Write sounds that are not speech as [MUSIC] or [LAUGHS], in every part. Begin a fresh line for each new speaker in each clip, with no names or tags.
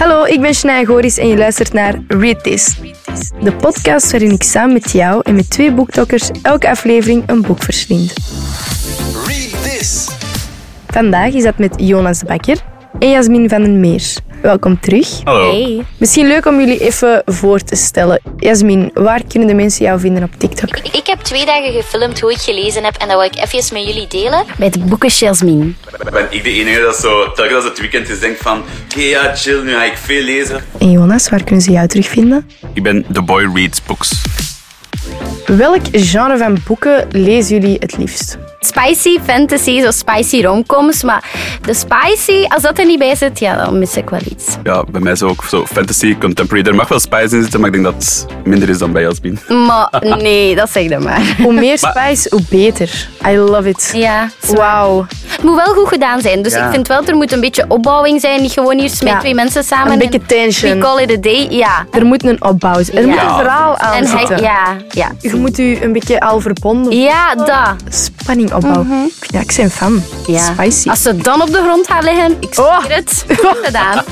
Hallo, ik ben Shania Goris en je luistert naar Read This. De podcast waarin ik samen met jou en met twee boektokkers elke aflevering een boek verslind.
Read this.
Vandaag is dat met Jonas de Bakker en Jasmin van den Meer. Welkom terug.
Hallo.
Hey.
Misschien leuk om jullie even voor te stellen. Jasmin, waar kunnen de mensen jou vinden op TikTok?
Ik heb twee dagen gefilmd hoe ik gelezen heb en dat wil ik even met jullie delen.
Met boeken Jasmin.
Ben ik de enige dat zo, telkens als het weekend is, denkt van... Oké, ja, chill, nu ga ik veel lezen.
En Jonas, waar kunnen ze jou terugvinden?
Ik ben The Boy Reads Books.
Welk genre van boeken lezen jullie het liefst?
Spicy fantasy, zo spicy romcoms. Maar de spicy, als dat er niet bij zit, ja, dan mis ik wel iets.
Ja, bij mij is ook zo fantasy, contemporary. Er mag wel spice in zitten, maar ik denk dat het minder is dan bij Jasmin.
Maar nee, dat zeg dan maar.
Hoe meer spice, hoe beter. I love it.
Ja,
Wauw.
het moet wel goed gedaan zijn. Dus
Ja.
ik vind wel, er moet een beetje opbouwing zijn. Niet gewoon hier met
Ja.
twee mensen samen.
Een
en
beetje tension.
We call it a day, ja.
Er moet een opbouw zijn. Er moet
Ja.
een verhaal aan
En
zitten.
hij, ja, ja.
Je moet u een beetje al verbonden.
Ja, dat.
Spanning opbouwen. Ja, ik ben fan.
Ja.
Spicy.
Als ze dan op de grond gaan liggen, ik zweer
Oh.
het. Goed
[LAUGHS]
gedaan.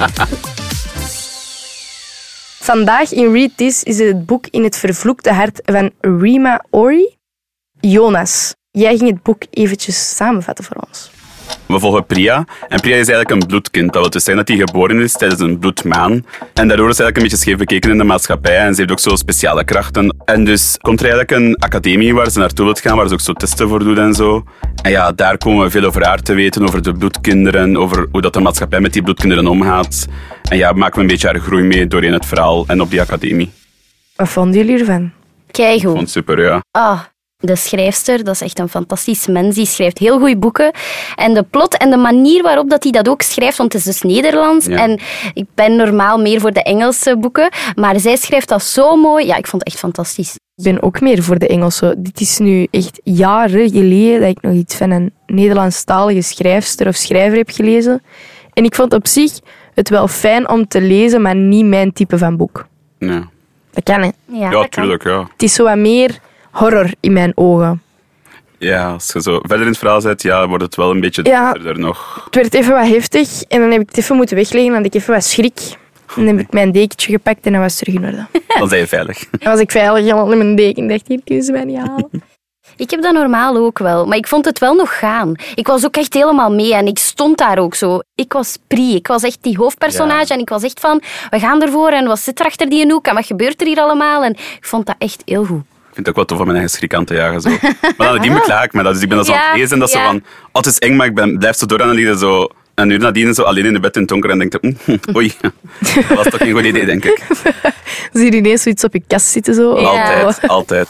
Vandaag in Read This is het boek In het vervloekte hart van Rima Ori. Jonas, jij ging het boek eventjes samenvatten voor ons.
We volgen Priya. En Priya is eigenlijk een bloedkind. Dat wil dus zeggen dat hij geboren is tijdens een bloedmaan. En daardoor is ze eigenlijk een beetje scheef bekeken in de maatschappij. En ze heeft ook zo speciale krachten. En dus komt er eigenlijk een academie waar ze naartoe wilt gaan, waar ze ook zo testen voor doet en zo. En ja, daar komen we veel over haar te weten, over de bloedkinderen, over hoe dat de maatschappij met die bloedkinderen omgaat. En ja, maken we een beetje haar groei mee doorheen het verhaal en op die academie.
Wat vonden jullie ervan?
Keigoed.
Vond super, ja.
Ah, de schrijfster, dat is echt een fantastisch mens. Die schrijft heel goede boeken. En de plot en de manier waarop dat hij dat ook schrijft, want het is dus Nederlands.
Ja.
En ik ben normaal meer voor de Engelse boeken. Maar zij schrijft dat zo mooi. Ja, ik vond het echt fantastisch.
Ik ben ook meer voor de Engelse. Dit is nu echt jaren geleden dat ik nog iets van een Nederlandstalige schrijfster of schrijver heb gelezen. En ik vond op zich het wel fijn om te lezen, maar niet mijn type van boek.
Ja,
Dat kan, hè.
Ja,
ja tuurlijk, ja.
Het is zo wat meer horror in mijn ogen.
Ja, als je zo verder in het verhaal zit, ja, wordt het wel een beetje
Ja.
verder nog.
Het werd even wat heftig en dan heb ik het even moeten wegleggen. Dan had ik even wat schrik. En dan heb ik mijn dekentje gepakt en dan was het terug in orde.
Dan zijn je veilig.
Dan was ik veilig helemaal in mijn deken. dacht, hier kunnen ze mij niet halen.
Ik heb dat normaal ook wel, maar ik vond het wel nog gaan. Ik was ook echt helemaal mee en ik stond daar ook zo. Ik was pri, ik was echt die hoofdpersonage
Ja.
en ik was echt van, we gaan ervoor en wat zit er achter die hoek en wat gebeurt er hier allemaal? En ik vond dat echt heel goed.
Ik vind het ook wel tof om mijn eigen schrik aan te
[LAUGHS]
jagen. Zo. Maar dan, die beklaag ik me dat. Dus ik ben dat zo aan het
Ja,
lezen. en Dat is
ja.
zo van, oh, het is eng, maar ik ben, blijf zo door aan het lezen. Zo. En nu nadien zo alleen in de bed in het donker en denkt, mm, [LAUGHS] oei, dat was toch geen goed idee,
[LAUGHS]
denk ik.
Dan zie je ineens zoiets op je kast zitten. Zo.
Altijd, altijd.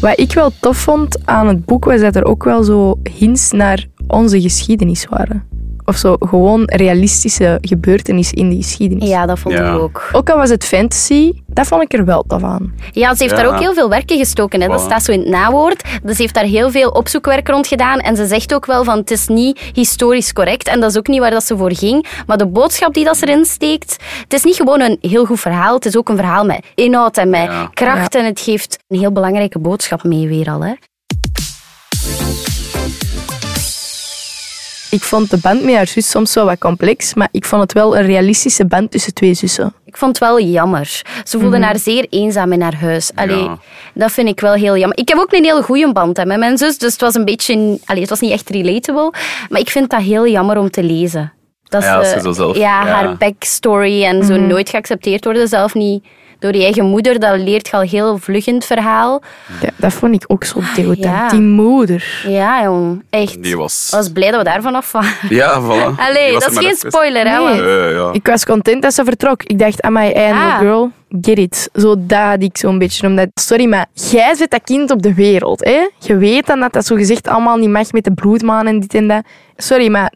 Wat ik wel tof vond aan het boek was dat er ook wel zo hints naar onze geschiedenis waren. Of zo gewoon realistische gebeurtenissen in de geschiedenis.
Ja, dat vond
Ja.
ik ook.
Ook al was het fantasy, dat vond ik er wel tof aan.
Ja, ze heeft
Ja.
daar ook heel veel werk in gestoken. Hè. Dat
Voilà.
staat zo in het nawoord. Dus ze heeft daar heel veel opzoekwerk rond gedaan. En ze zegt ook wel van het is niet historisch correct. En dat is ook niet waar dat ze voor ging. Maar de boodschap die dat ze erin steekt, het is niet gewoon een heel goed verhaal. Het is ook een verhaal met inhoud en met
Ja.
kracht. En het geeft een heel belangrijke boodschap mee weer al. Hè.
Ik vond de band met haar zus soms wel wat complex, maar ik vond het wel een realistische band tussen twee zussen.
Ik vond het wel jammer. Ze voelde haar zeer eenzaam in haar huis. Allee,
Mhm. Ja.
Dat vind ik wel heel jammer. Ik heb ook een heel goede band hè, met mijn zus, dus het was een beetje... Allee, het was niet echt relatable, maar ik vind dat heel jammer om te lezen. Dat
Ja, als ze zo zelf-
ja,
ja. Mhm.
haar backstory en zo nooit geaccepteerd worden, zelf niet door je eigen moeder, dat leert je al heel vlug in het verhaal.
Ja, dat vond ik ook zo degotant.
Ah, ja.
Die moeder.
Ja, jong, echt.
Die was-
Ik was blij dat we daarvan af waren.
Ja, voilà. Die
Allee, dat
was er
is
maar
geen
even.
spoiler, hè?
Nee.
want-
Eh, ja.
Ik was content dat ze vertrok. Ik dacht, amai, eindelijk,
Ah.
girl. Get it. Zo daad ik zo'n beetje. Omdat, sorry, maar jij zet dat kind op de wereld. Hè? Je weet dan dat dat zogezegd allemaal niet mag met de bloedmaan en dit en dat. Sorry, maar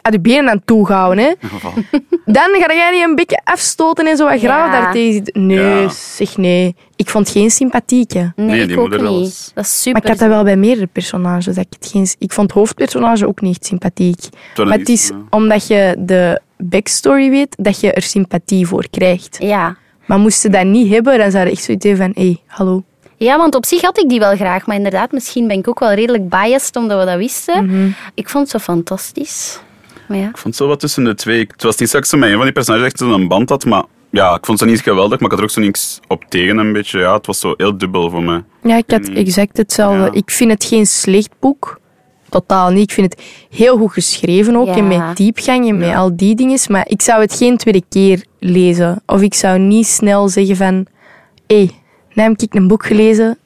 aan je benen aan toegehouden. Hè? [LAUGHS] Dan ga jij niet een beetje afstoten en zo wat graaf
Ja.
daartegen zitten. Nee,
Ja.
zeg nee. Ik vond geen sympathiek. Hè.
Nee,
Nee,
ik
die
ook
moeder wel
niet.
eens.
Dat is
Maar
super.
ik had dat wel bij meerdere personages. Dat ik, het geen, ik vond het hoofdpersonage ook niet echt sympathiek.
wel
Maar
een
het is
iets, ja.
omdat je de backstory weet, dat je er sympathie voor krijgt.
Ja.
Maar moest ze dat niet hebben, dan zou je echt zoiets hebben van... Hé, hallo.
Ja, want op zich had ik die wel graag. Maar inderdaad, misschien ben ik ook wel redelijk biased omdat we dat wisten. Ik vond ze fantastisch. Ja.
Ik vond het zo wat tussen de twee. Het was niet zo dat ik zo met een van die personages echt zo'n band had, maar ja, ik vond ze niet geweldig, maar ik had er ook zo niks op tegen een beetje. Ja, het was zo heel dubbel voor me.
Ja, ik had exact hetzelfde.
Mm. Ja.
Ik vind het geen slecht boek. Totaal niet. Ik vind het heel goed geschreven ook.
Ja.
En met diepgang en met al die dingen. Maar ik zou het geen tweede keer lezen. Of ik zou niet snel zeggen van... Hé, hey, nou heb ik een boek gelezen.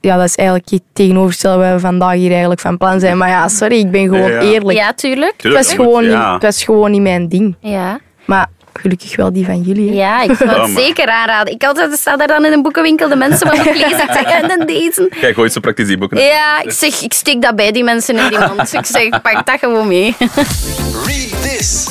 Ja, dat is eigenlijk het tegenovergestelde waar we vandaag hier eigenlijk van plan zijn. Maar ja, sorry, ik ben gewoon
Ja.
eerlijk.
Ja, tuurlijk.
Het, was
Tuurlijk,
gewoon
ja.
niet, het was gewoon niet mijn ding.
Ja.
Maar gelukkig wel die van jullie. hè.
Ja, ik zou
Ja,
het
maar-
zeker aanraden. Ik altijd sta daar dan in een boekenwinkel de mensen wat ik lees. Ik zeg, en dan deze.
Kijk, gooit zo praktisch die boeken.
Ja, ik zeg, ik steek dat bij die mensen in die mond. Ik zeg, pak dat gewoon mee.
Read this.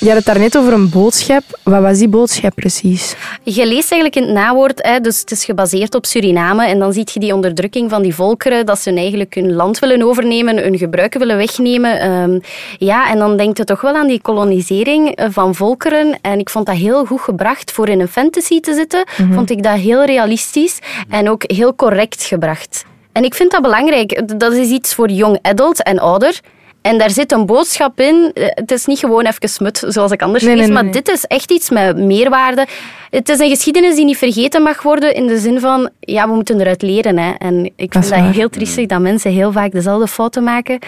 Je had het daarnet over een boodschap. Wat was die boodschap precies?
Je leest eigenlijk in het nawoord, hè, dus het is gebaseerd op Suriname. En dan zie je die onderdrukking van die volkeren, dat ze hun eigenlijk hun land willen overnemen, hun gebruiken willen wegnemen. Ehm, ja, en dan denkt het toch wel aan die kolonisering eh, van volkeren. En ik vond dat heel goed gebracht voor in een fantasy te zitten.
Mhm.
Vond ik dat heel realistisch en ook heel correct gebracht. En ik vind dat belangrijk. Dat is iets voor young adult en ouder. En daar zit een boodschap in. Eh, Het is niet gewoon even smut, zoals ik anders
Nee,
lees,
nee, nee,
maar
nee.
dit is echt iets met meerwaarde. Het is een geschiedenis die niet vergeten mag worden in de zin van, ja, we moeten eruit leren. Hè. En ik
Dat
vind
is
dat
waar. Mm.
heel triestig dat mensen heel vaak dezelfde fouten maken.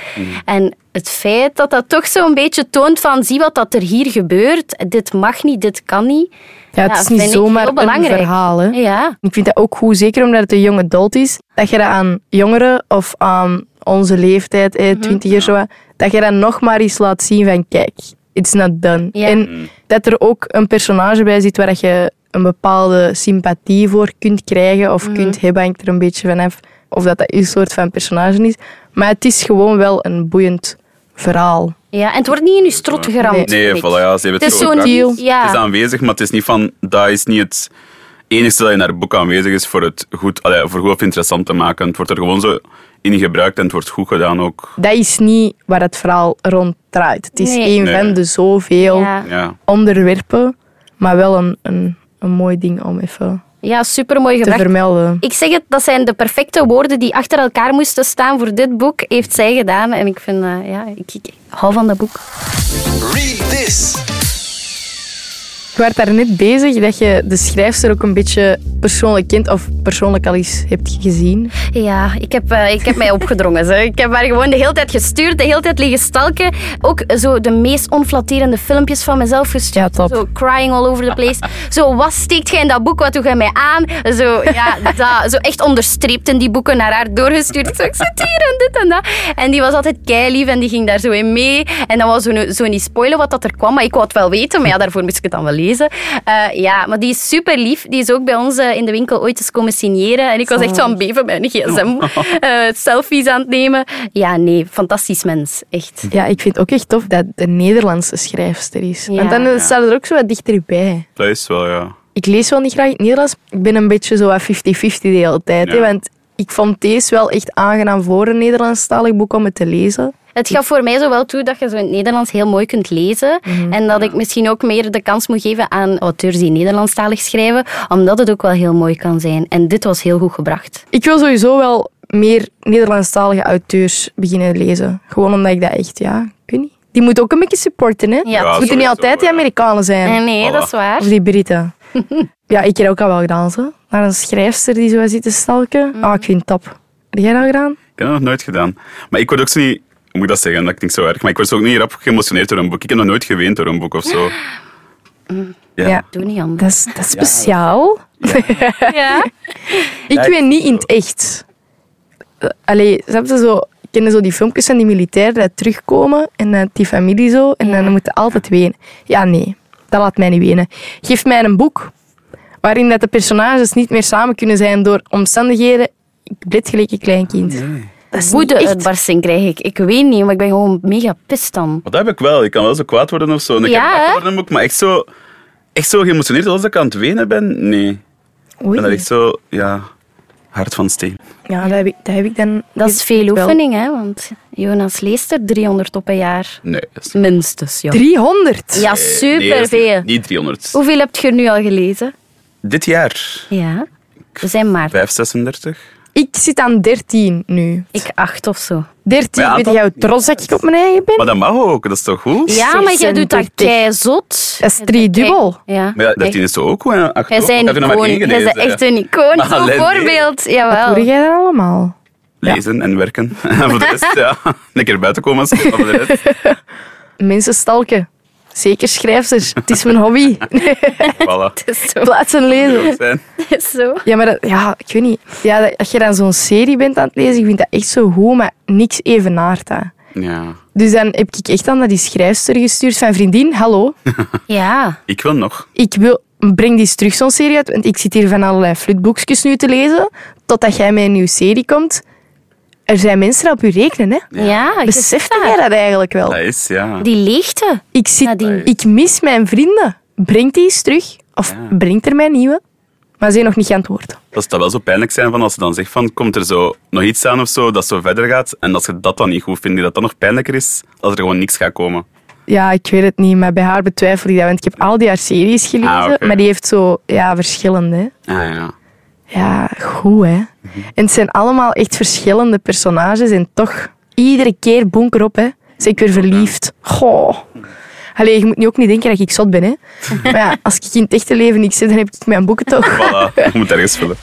En het feit dat dat toch zo'n beetje toont van, zie wat dat er hier gebeurt. Dit mag niet, dit kan niet.
Ja, het
Ja,
is niet
vind ik
zomaar
heel
een
belangrijk.
verhaal. Hè?
Ja.
Ik vind dat ook goed, zeker omdat het een jonge adult is, dat je dat aan jongeren of aan onze leeftijd, eh,
Mhm.
twintigers, zo wat, dat je dat nog maar eens laat zien van kijk, it's not done.
Ja.
En dat er ook een personage bij zit waar dat je een bepaalde sympathie voor kunt krijgen
Mhm.
of kunt hebben, hangt er een beetje vanaf of dat dat een soort van personage is. Maar het is gewoon wel een boeiend verhaal.
Ja, en het wordt niet in je strot geramd.
Nee,
vind ik.
voilà, ja, ze hebben
Het
het,
is
zo
zo'n
gebracht.
deal.
Ja.
Het is aanwezig, maar het is niet van, dat is niet het enige dat in haar boek aanwezig is voor het goed, allee, voor goed of interessant te maken. Het wordt er gewoon zo in gebruikt en het wordt goed gedaan ook.
Dat is niet waar het verhaal rond draait. Het is
Nee.
één
Nee.
van de zoveel...
Ja.
Ja.
onderwerpen, maar wel een, een, een mooi ding om even
Ja, supermooi
te
gebracht.
vermelden.
Ik zeg het, dat zijn de perfecte woorden die achter elkaar moesten staan voor dit boek, heeft zij gedaan. En ik vind, eh, ja, ik, ik hou van dat boek.
Read this.
Je werd daar net bezig dat je de schrijfster ook een beetje persoonlijk kent of persoonlijk al eens hebt gezien.
Ja, ik heb, eh, ik heb mij opgedrongen. Zo. Ik heb haar gewoon de hele tijd gestuurd, de hele tijd liggen stalken. Ook zo de meest onflatterende filmpjes van mezelf gestuurd.
Ja, top.
Zo crying all over the place. Zo, wat steekt jij in dat boek? Wat doe jij mij aan? Zo, ja, dat, zo echt onderstreept in die boeken naar haar doorgestuurd. Zo, ik zit hier en dit en dat. En die was altijd keilief en die ging daar zo in mee. En dan was zo, zo niet spoilen wat dat er kwam. Maar ik wou het wel weten, maar ja, daarvoor moest ik het dan wel lezen. Eh, ja, maar die is super lief. Die is ook bij ons eh, in de winkel ooit eens komen signeren. En ik was echt zo aan het beven bij een gsm. eh, selfies aan het nemen. Ja, nee, fantastisch mens. Echt.
Ja, ik vind het ook echt tof dat het een Nederlandse schrijfster is.
Ja.
Want dan eh, staat het er ook zo wat dichterbij.
Dat is wel, ja.
Ik lees wel niet graag in het Nederlands. Ik ben een beetje zo wat 50-50 de hele tijd.
Ja.
hè, want ik vond deze wel echt aangenaam voor een Nederlandstalig boek om het te lezen.
Het gaf voor mij zo wel toe dat je zo in het Nederlands heel mooi kunt lezen.
Mhm.
En dat ik misschien ook meer de kans moet geven aan auteurs die Nederlandstalig schrijven, omdat het ook wel heel mooi kan zijn. En dit was heel goed gebracht.
Ik wil sowieso wel meer Nederlandstalige auteurs beginnen lezen. Gewoon omdat ik dat echt, ja, ik weet niet. Die moeten ook een beetje supporten, hè?
Ja,
het moeten niet
sowieso,
altijd die
ja.
Amerikanen zijn.
En Eh, nee,
Voilà.
dat is waar.
Of die
[LAUGHS]
Britten. ja, ik heb ook al wel gedaan, zo. Naar een schrijfster die zo zit te stalken.
Mm.
Ah, ik vind het top. Heb jij dat gedaan?
Ik heb dat nog nooit gedaan. Maar ik word ook zo niet... Hoe moet ik dat zeggen? Dat klinkt zo erg. Maar ik word zo ook niet rap geëmotioneerd door een boek. Ik heb nog nooit geweend door een boek of zo. Ja.
Doe niet anders.
Dat is, dat is speciaal.
[LAUGHS] Ja?
Ik weet niet in het echt. Eh, Allee, snap je zo... Kennen zo die filmpjes van die militairen dat terugkomen en dat die familie zo en dan moeten altijd wenen. Ja, nee, dat laat mij niet wenen. Geef mij een boek waarin dat de personages niet meer samen kunnen zijn door omstandigheden. Ik blit gelijk een klein kind. Dat is niet
Woede
echt.
uitbarsting krijg ik. Ik weet niet, maar ik ben gewoon mega pist dan.
Maar dat heb ik wel. Ik kan wel zo kwaad worden of zo. En ik
Ja, hè?
heb kwaad worden in een boek. Maar echt zo, echt zo geëmotioneerd als ik aan het wenen ben? Nee. Ik
Oei.
ben daar echt zo... Ja... Hart van steen.
Ja, dat heb, ik, dat heb ik dan...
Dat is veel
wel.
oefening, hè? Want Jonas leest er 300 op een jaar.
Nee, dat is niet-
Minstens, ja.
300?
Ja,
Nee, dat is niet-
superveel.
Niet 300.
Hoeveel heb je er nu al gelezen?
Dit jaar
Ja. We zijn maart.
536.
Ik zit aan 13 nu.
Ik acht of zo.
13,
Maar ja,
weet
dat-
jij hoe trots dat ik op mijn eigen ben?
Maar dat mag ook, dat is toch goed?
Ja, maar jij doet dat
36.
keizot.
Dat is driedubbel.
Ja.
Maar ja, dat is toch ook gewoon acht
Jij
ook?
bent
Ik heb er nog maar
icoon. Jij
één
bent
gelezen.
echt een icoon.
Maar
Zo'n
alleen nee.
voorbeeld.
Wat hoor
Jawel.
jij dan allemaal?
Lezen en werken. [LAUGHS] En voor de rest, ja. Een keer buiten komen. als- Maar voor de
[LAUGHS]
rest,
Mensen stalken. Zeker schrijfsters. Het is mijn
[LAUGHS]
hobby.
voilà.
Het [LAUGHS] is zo.
Plaats en lezen.
Goed zijn.
Het is zo.
Ja, maar dat, ja, ik weet niet. Ja, dat, als je dan zo'n serie bent aan het lezen, ik vind dat echt zo goed, maar niks evenaart dat.
Ja.
Dus dan heb ik echt aan naar die schrijfster gestuurd van vriendin,
[LAUGHS]
hallo,
Ja.
Ik wil nog.
ik wil, breng die eens terug zo'n serie uit, want ik zit hier van allerlei flutboekjes nu te lezen, totdat jij met een nieuwe serie komt. Er zijn mensen op je rekenen, hè.
Ja. je
Beseft
zegt
jij dat eigenlijk wel?
Dat is, ja.
Die leegte.
Ik, zit,
Nadien.
ik mis mijn vrienden. Breng die eens terug. Of
Ja.
breng er mijn nieuwe. Maar ze zijn nog niet geantwoord.
Dat zou wel zo pijnlijk zijn van als ze dan zegt van komt er zo nog iets aan of zo, dat zo verder gaat. En als je dat dan niet goed vindt, dat dat nog pijnlijker is, als er gewoon niks gaat komen.
Ja, ik weet het niet, maar bij haar betwijfel ik dat. Want ik heb al die haar series gelezen,
Ah, oké.
maar die heeft zo ja, verschillende. hè.
Ah, ja.
Ja, goed hè.
Mhm.
En het zijn allemaal echt verschillende personages en toch iedere keer bonker op hè. Zeg ik weer verliefd. Goh. Allee, je moet nu ook niet denken dat ik zot ben
[LAUGHS]
hè. Maar ja, als ik in het echte leven niks zit, dan heb ik mijn boeken toch.
Voilà, [LAUGHS] je moet ergens vullen.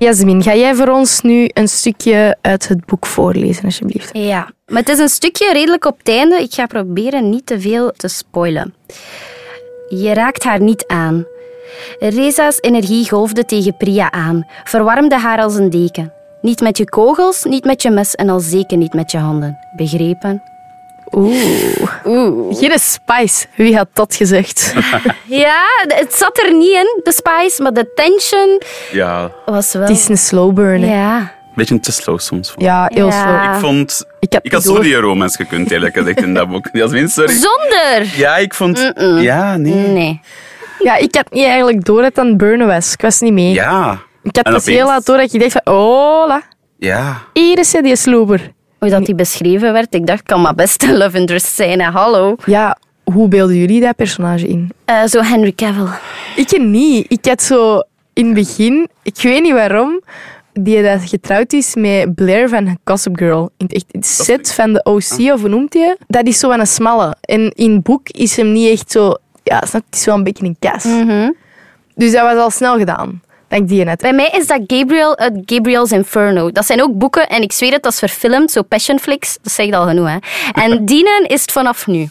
Jasmin, ga jij voor ons nu een stukje uit het boek voorlezen alsjeblieft?
Ja. Maar het is een stukje redelijk op het einde. Ik ga proberen niet te veel te spoilen. Je raakt haar niet aan. Reza's energie golfde tegen Priya aan, verwarmde haar als een deken. Niet met je kogels, niet met je mes en al zeker niet met je handen. Begrepen?
Oeh. Oeh. Geen spice. Wie had dat
[LAUGHS]
gezegd?
Ja, het zat er niet in, de spice, maar de tension
Ja,
was wel...
Het is een slow burn. hè.
Ja.
een beetje te slow soms. vond ik.
Ja, heel
Ja.
slow.
Ik vond...
Ik heb
Ik had
die
zo
door.
die romance gekund, eerlijk gezegd, in dat boek. Jasmin, sorry.
Zonder!
Ja, ik vond... Ja, nee.
Nee.
Ja, ik had niet eigenlijk door dat het aan het burnen was. Ik was niet mee.
Ja.
Ik had
En
pas heel
opeens-
laat door dat je dacht van... Hola,
Ja.
hier is hij, die sloeber.
Hoe dat die beschreven werd, ik dacht, kan maar best een love interest zijn, hè. hallo.
Ja, hoe beelden jullie dat personage in?
Eh, zo Henry Cavill.
Ik niet. Ik had zo in het begin... Ik weet niet waarom... Die dat getrouwd is met Blair van Gossip Girl. In het echt het set van de OC, of hoe noemt hij? Dat is zo aan een smalle. En in het boek is hem niet echt zo... Ja, snap je? Het is wel een beetje een kas. Dus dat was al snel gedaan. Dat ik die net.
Bij mij is dat Gabriel uit Gabriel's Inferno. Dat zijn ook boeken en ik zweer het, dat is verfilmd, zo passion flicks, dat zegt al genoeg. Hè. En [LAUGHS] Dienen is het vanaf nu.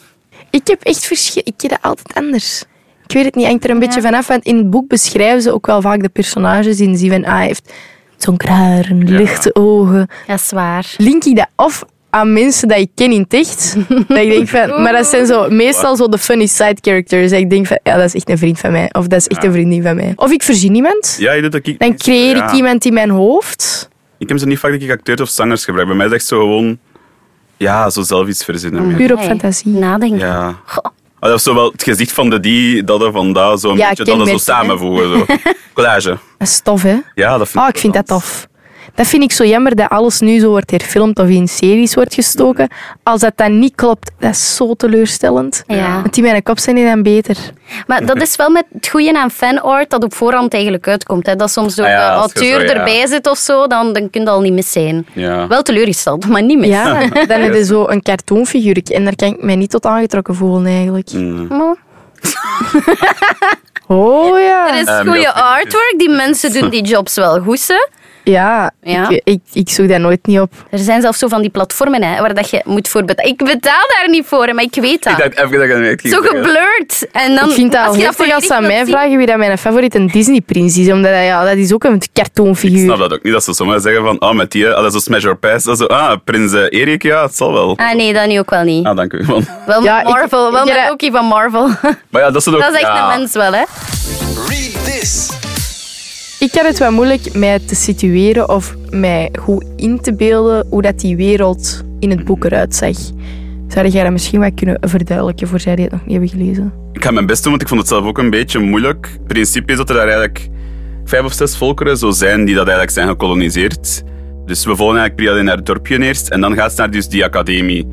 Ik heb echt verschil. Ik ken dat altijd anders. Ik weet het niet, hangt er een beetje vanaf. Want in het boek beschrijven ze ook wel vaak de personages in zien van ah, hij heeft zo'n haar, een lichte ogen.
Dat is waar.
Link ik dat af aan mensen dat ik ken in het
[LAUGHS]
echt? dat ik denk van, maar dat zijn zo, meestal zo de funny side characters. Dat ik denk van, ja, dat is echt een vriend van mij. Of dat is echt een vriendin van mij. Of ik verzin iemand.
Ja, je doet dat ik...
Dan creëer ik
Ja.
iemand in mijn hoofd.
Ik heb zo niet vaak dat ik acteurs of zangers gebruik. Bij mij is echt zo gewoon... Ja, zo zelf iets verzinnen. meer.
Puur op
Hey,
fantasie.
Nadenken.
Ja.
Goh.
Ah, dat is zo wel het gezicht van de die, dat er van daar, zo'n
Ja,
beetje, dat er zo
kenmerken, hè?
samenvoegen. Zo.
[LAUGHS]
Collage.
Dat is tof, hè?
Ja, dat vind
Ah,
ik
ik vind dat
wel.
tof. Dat vind ik zo jammer dat alles nu zo wordt herfilmd of in series wordt gestoken. Als dat dan niet klopt, dat is zo teleurstellend.
Ja.
Want die mijn kop zijn die dan beter.
Maar
[LAUGHS]
dat is wel met het goede aan fanart dat op voorhand eigenlijk uitkomt. Hè. Dat soms door
Ah
de
ja, als je
auteur
zo, ja.
erbij zit of zo, dan, dan kun je al niet mis zijn.
Ja.
Wel teleurgesteld, maar niet mis. [LAUGHS]
Ja, [LAUGHS] dan heb je zo een cartoonfiguur. En daar kan ik mij niet tot aangetrokken voelen eigenlijk.
Maar
Oh ja.
Er is
Eh, maar
goede
dat vind ik
artwork, die mensen doen die jobs wel goed. hè.
Ja,
Ja.
Ik, ik, ik zoek dat nooit niet op.
Er zijn zelfs zo van die platformen hè, waar dat je moet voor betalen. Ik betaal daar niet voor, hè, maar ik weet dat.
Ik dacht even dat ik het niet ging
zo
zeggen.
geblurred. En dan,
Ik vind dat
als
al
je
heftig als ze
volledig
aan
wilt
mij
zien-
vragen wie dat mijn favoriete Disney-prins is. Omdat dat, ja, dat is ook een
Ik snap
cartoonfiguur.
dat ook niet, dat ze sommigen zeggen van, ah, met die, ah, dat is zo Smash or Pass. Dat is zo, ah, prins eh, Erik, ja, het zal wel.
Ah nee, dat nu ook wel niet.
Ah, dank u. Man. [LAUGHS]
Wel met
Ja, ik-
Marvel, wel
ja,
met
dat-
Loki van Marvel. [LAUGHS]
Maar ja, dat is het ook.
dat is echt
ja.
een mens wel, hè.
Read this.
Ik had het wel moeilijk mij te situeren of mij goed in te beelden hoe dat die wereld in het boek eruit zag. Zou jij dat misschien wat kunnen verduidelijken voor zij die het nog niet hebben gelezen?
Ik ga mijn best doen, want ik vond het zelf ook een beetje moeilijk. Het principe is dat er daar eigenlijk vijf of zes volkeren zo zijn die dat eigenlijk zijn gekoloniseerd. Dus we volgen eigenlijk Priad in haar dorpje eerst en dan gaat ze naar dus die academie.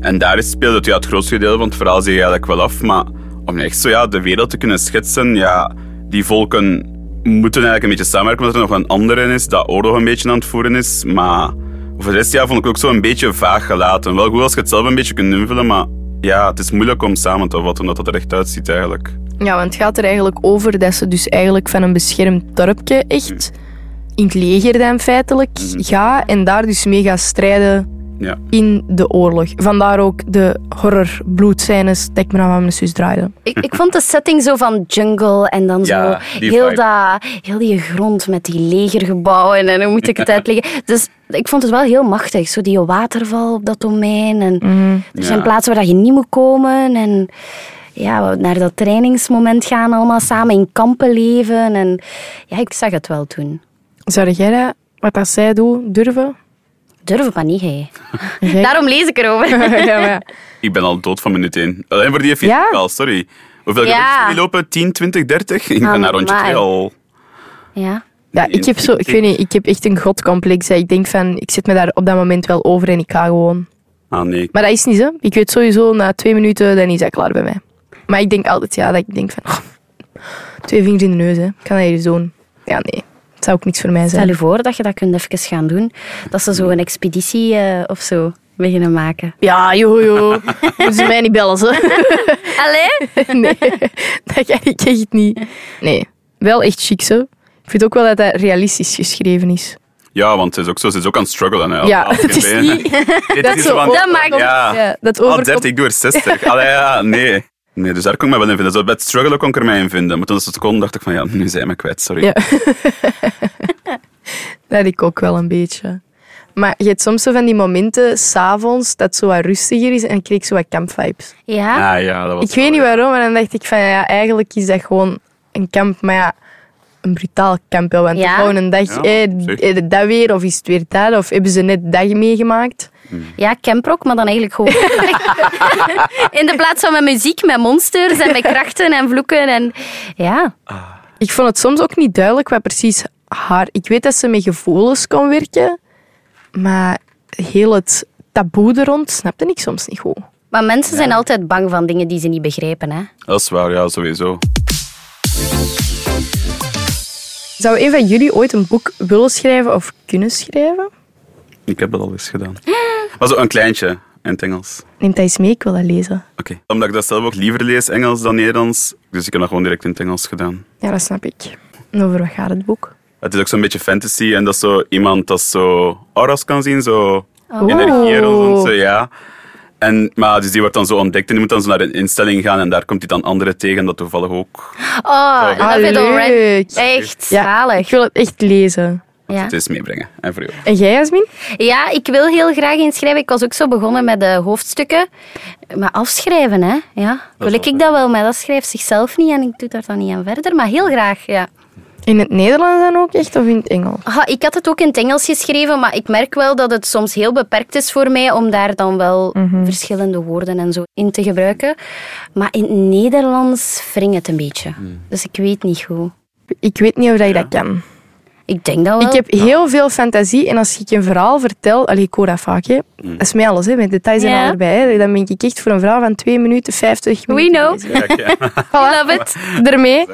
En daar is- speelt het, ja, het grootste gedeelte van het verhaal zich eigenlijk wel af. Maar om echt zo ja, de wereld te kunnen schetsen, ja, die volken moeten eigenlijk een beetje samenwerken, omdat er nog een andere is dat oorlog een beetje aan het voeren is. Maar voor de rest ja, vond ik ook zo een beetje vaag gelaten. Wel goed als je het zelf een beetje kunt invullen, maar ja, het is moeilijk om samen te vatten omdat het er echt uitziet eigenlijk.
Ja, want het gaat er eigenlijk over dat ze dus eigenlijk van een beschermd dorpje
Mm.
echt in het leger dan feitelijk gaat en daar dus mee gaat strijden
Ja.
in de oorlog. Vandaar ook de horror bloedscènes dat ik me aan mijn zus draaide.
Ik,
[LAUGHS]
ik vond de setting zo van jungle en dan
Ja,
zo
die
heel,
vibe.
dat, heel die grond met die legergebouwen en hoe moet ik het uitleggen. Dus ik vond het wel heel machtig, zo die waterval op dat domein. En Er zijn
Ja.
plaatsen waar dat je niet moet komen en ja, naar dat trainingsmoment gaan allemaal samen in kampen leven. En ja, ik zag het wel toen.
Zou jij dat, wat dat zij doet, durven?
Durf maar niet, hè.
Jij-
Daarom lees ik erover.
[LAUGHS] ja, maar-
Ik ben al dood van minuut één. Alleen voor die vier
Ja?
wel, sorry. Hoeveel
Ja.
ja. die lopen? 10, 20, 30? Ik ben naar rondje
Amai.
2 al.
Ja.
ja, ik heb zo, ik weet niet, ik heb echt een godcomplex. hè. Ik denk van, ik zit me daar op dat moment wel over en ik ga gewoon.
Ah nee, ik
Maar dat is niet zo. Ik weet sowieso, na twee minuten, dan is dat klaar bij mij. Maar ik denk altijd, ja, dat ik denk van... [LAUGHS] twee vingers in de neus, hè. Ik kan dat hier doen. Ja, nee. Dat zou ook niks voor mij
Stel
zijn.
je voor dat je dat kunt even gaan doen. Dat ze zo een expeditie eh, of zo beginnen maken.
Ja, joh, joh. [LAUGHS] Moeten ze mij niet bellen, ze.
Allee?
[LAUGHS] Nee, dat kan ik echt niet. Nee. Wel echt chic, zo. Ik vind ook wel dat dat realistisch geschreven is.
Ja, want ze is ook, zo, ze is ook aan het struggelen. Hè,
Ja,
Al- al-
[LAUGHS] het is
benen. [LAUGHS]
niet...
Dit
dat
is
zo
van-
op-
Dat maakt-
ja.
Ja, dat
Ah,
overkomt...
30, ik doe er 60. Allee, ja, nee. Nee, dus daar kon ik me wel in vinden. Zo, bij het struggelen kon ik er mij in vinden. Maar toen ze het kon, dacht ik van, ja, nu zijn we kwijt, sorry.
Ja. Dat ik ook wel een beetje. Maar je hebt soms zo van die momenten, s'avonds, dat het zo wat rustiger is en dan kreeg ik zo wat campvibes.
Ja.
Ah, ja, dat was
Ik weet niet waarom, maar dan dacht ik van ja, eigenlijk is dat gewoon een kamp, maar ja, een brutaal kamp. wel, Want
Ja.
gewoon een dag,
Ja,
eh,
zeg.
eh, dat weer, of is het weer dat, of hebben ze net dag meegemaakt?
Ja, camprock, maar dan eigenlijk gewoon. [LAUGHS] In de plaats van met muziek, met monsters en met krachten en vloeken. En... Ja.
Ik vond het soms ook niet duidelijk wat precies haar. Ik weet dat ze met gevoelens kon werken, maar heel het taboe er rond snapte ik soms niet goed.
Maar mensen zijn altijd bang van dingen die ze niet begrijpen. Hè?
Dat is waar, ja, sowieso.
Zou een van jullie ooit een boek willen schrijven of kunnen schrijven?
Ik heb dat al eens [GASPS] gedaan. Maar zo een kleintje in het Engels.
Neem dat eens mee, ik wil dat lezen.
Oké. Omdat ik dat zelf ook liever lees Engels dan Nederlands. Dus ik heb dat gewoon direct in het Engels gedaan.
Ja, dat snap ik. En over wat gaat het boek?
Het is ook zo'n beetje fantasy en dat is zo iemand dat zo auras kan zien, zo
Oh.
energieën en zo, ja. En, maar dus die wordt dan zo ontdekt en die moet dan zo naar een instelling gaan en daar komt hij dan anderen tegen, dat toevallig ook.
Oh, dat vind ik al
Ah, leuk.
rent- Echt
Ja,
zalig.
ik wil het echt lezen.
Ja.
Het is meebrengen. En voor jou.
En jij, Jasmin?
ja, ik wil heel graag inschrijven. Ik was ook zo begonnen met de hoofdstukken. Maar afschrijven, hè? Ja. Wil ik dat wel, maar dat schrijft zichzelf niet en ik doe daar dan niet aan verder. Maar heel graag, ja.
In het Nederlands dan ook echt of in het Engels?
Ah, ik had het ook in het Engels geschreven, maar ik merk wel dat het soms heel beperkt is voor mij om daar dan wel verschillende woorden en zo in te gebruiken. Maar in het Nederlands wringt het een beetje. Dus ik weet niet hoe.
Ik weet niet of dat je dat kan.
Ik denk dat wel.
Ik heb heel veel fantasie en als ik een verhaal vertel, allee, ik hoor dat vaak, hè. dat is mij alles, hè. met details en
Ja.
al erbij. Hè. Dan ben ik echt voor een verhaal van 2 minuten 50
We
minuten.
know.
Kijk, ja.
Voilà, [LAUGHS] ermee.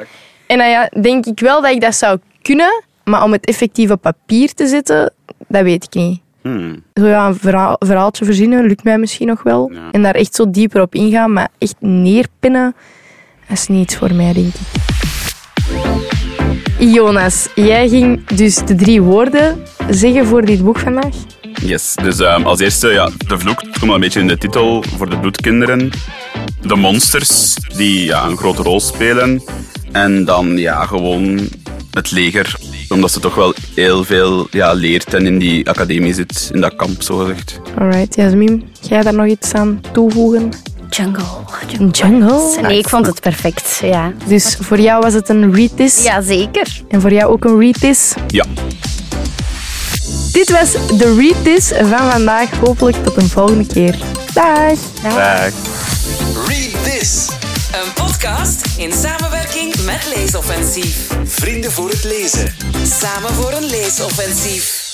En dan ja, denk ik wel dat ik dat zou kunnen, maar om het effectief op papier te zetten, dat weet ik niet.
Hmm.
Zo ja, een verhaal- verhaaltje verzinnen lukt mij misschien nog wel.
Ja.
En daar echt zo dieper op ingaan, maar echt neerpinnen, dat is niet iets voor mij, denk ik. Jonas, jij ging dus de drie woorden zeggen voor dit boek vandaag.
Yes, dus ehm, als eerste, ja, de vloek. Het komt al een beetje in de titel voor de bloedkinderen. De monsters, die ja, een grote rol spelen. En dan ja, gewoon het leger. Omdat ze toch wel heel veel ja, leert en in die academie zit, in dat kamp zogezegd.
Alright, Jasmin, ga jij daar nog iets aan toevoegen?
Jungle.
Een jungle.
Nee, ik vond het perfect. Ja,
Dus voor jou was het een read this
ja zeker.
en voor jou ook een read this.
Ja,
Dit was de Read This van vandaag. Hopelijk tot een volgende keer. Dag!
Dag.
Read this.
Een podcast in samenwerking met Leesoffensief.
Vrienden voor het lezen.
Samen voor een leesoffensief.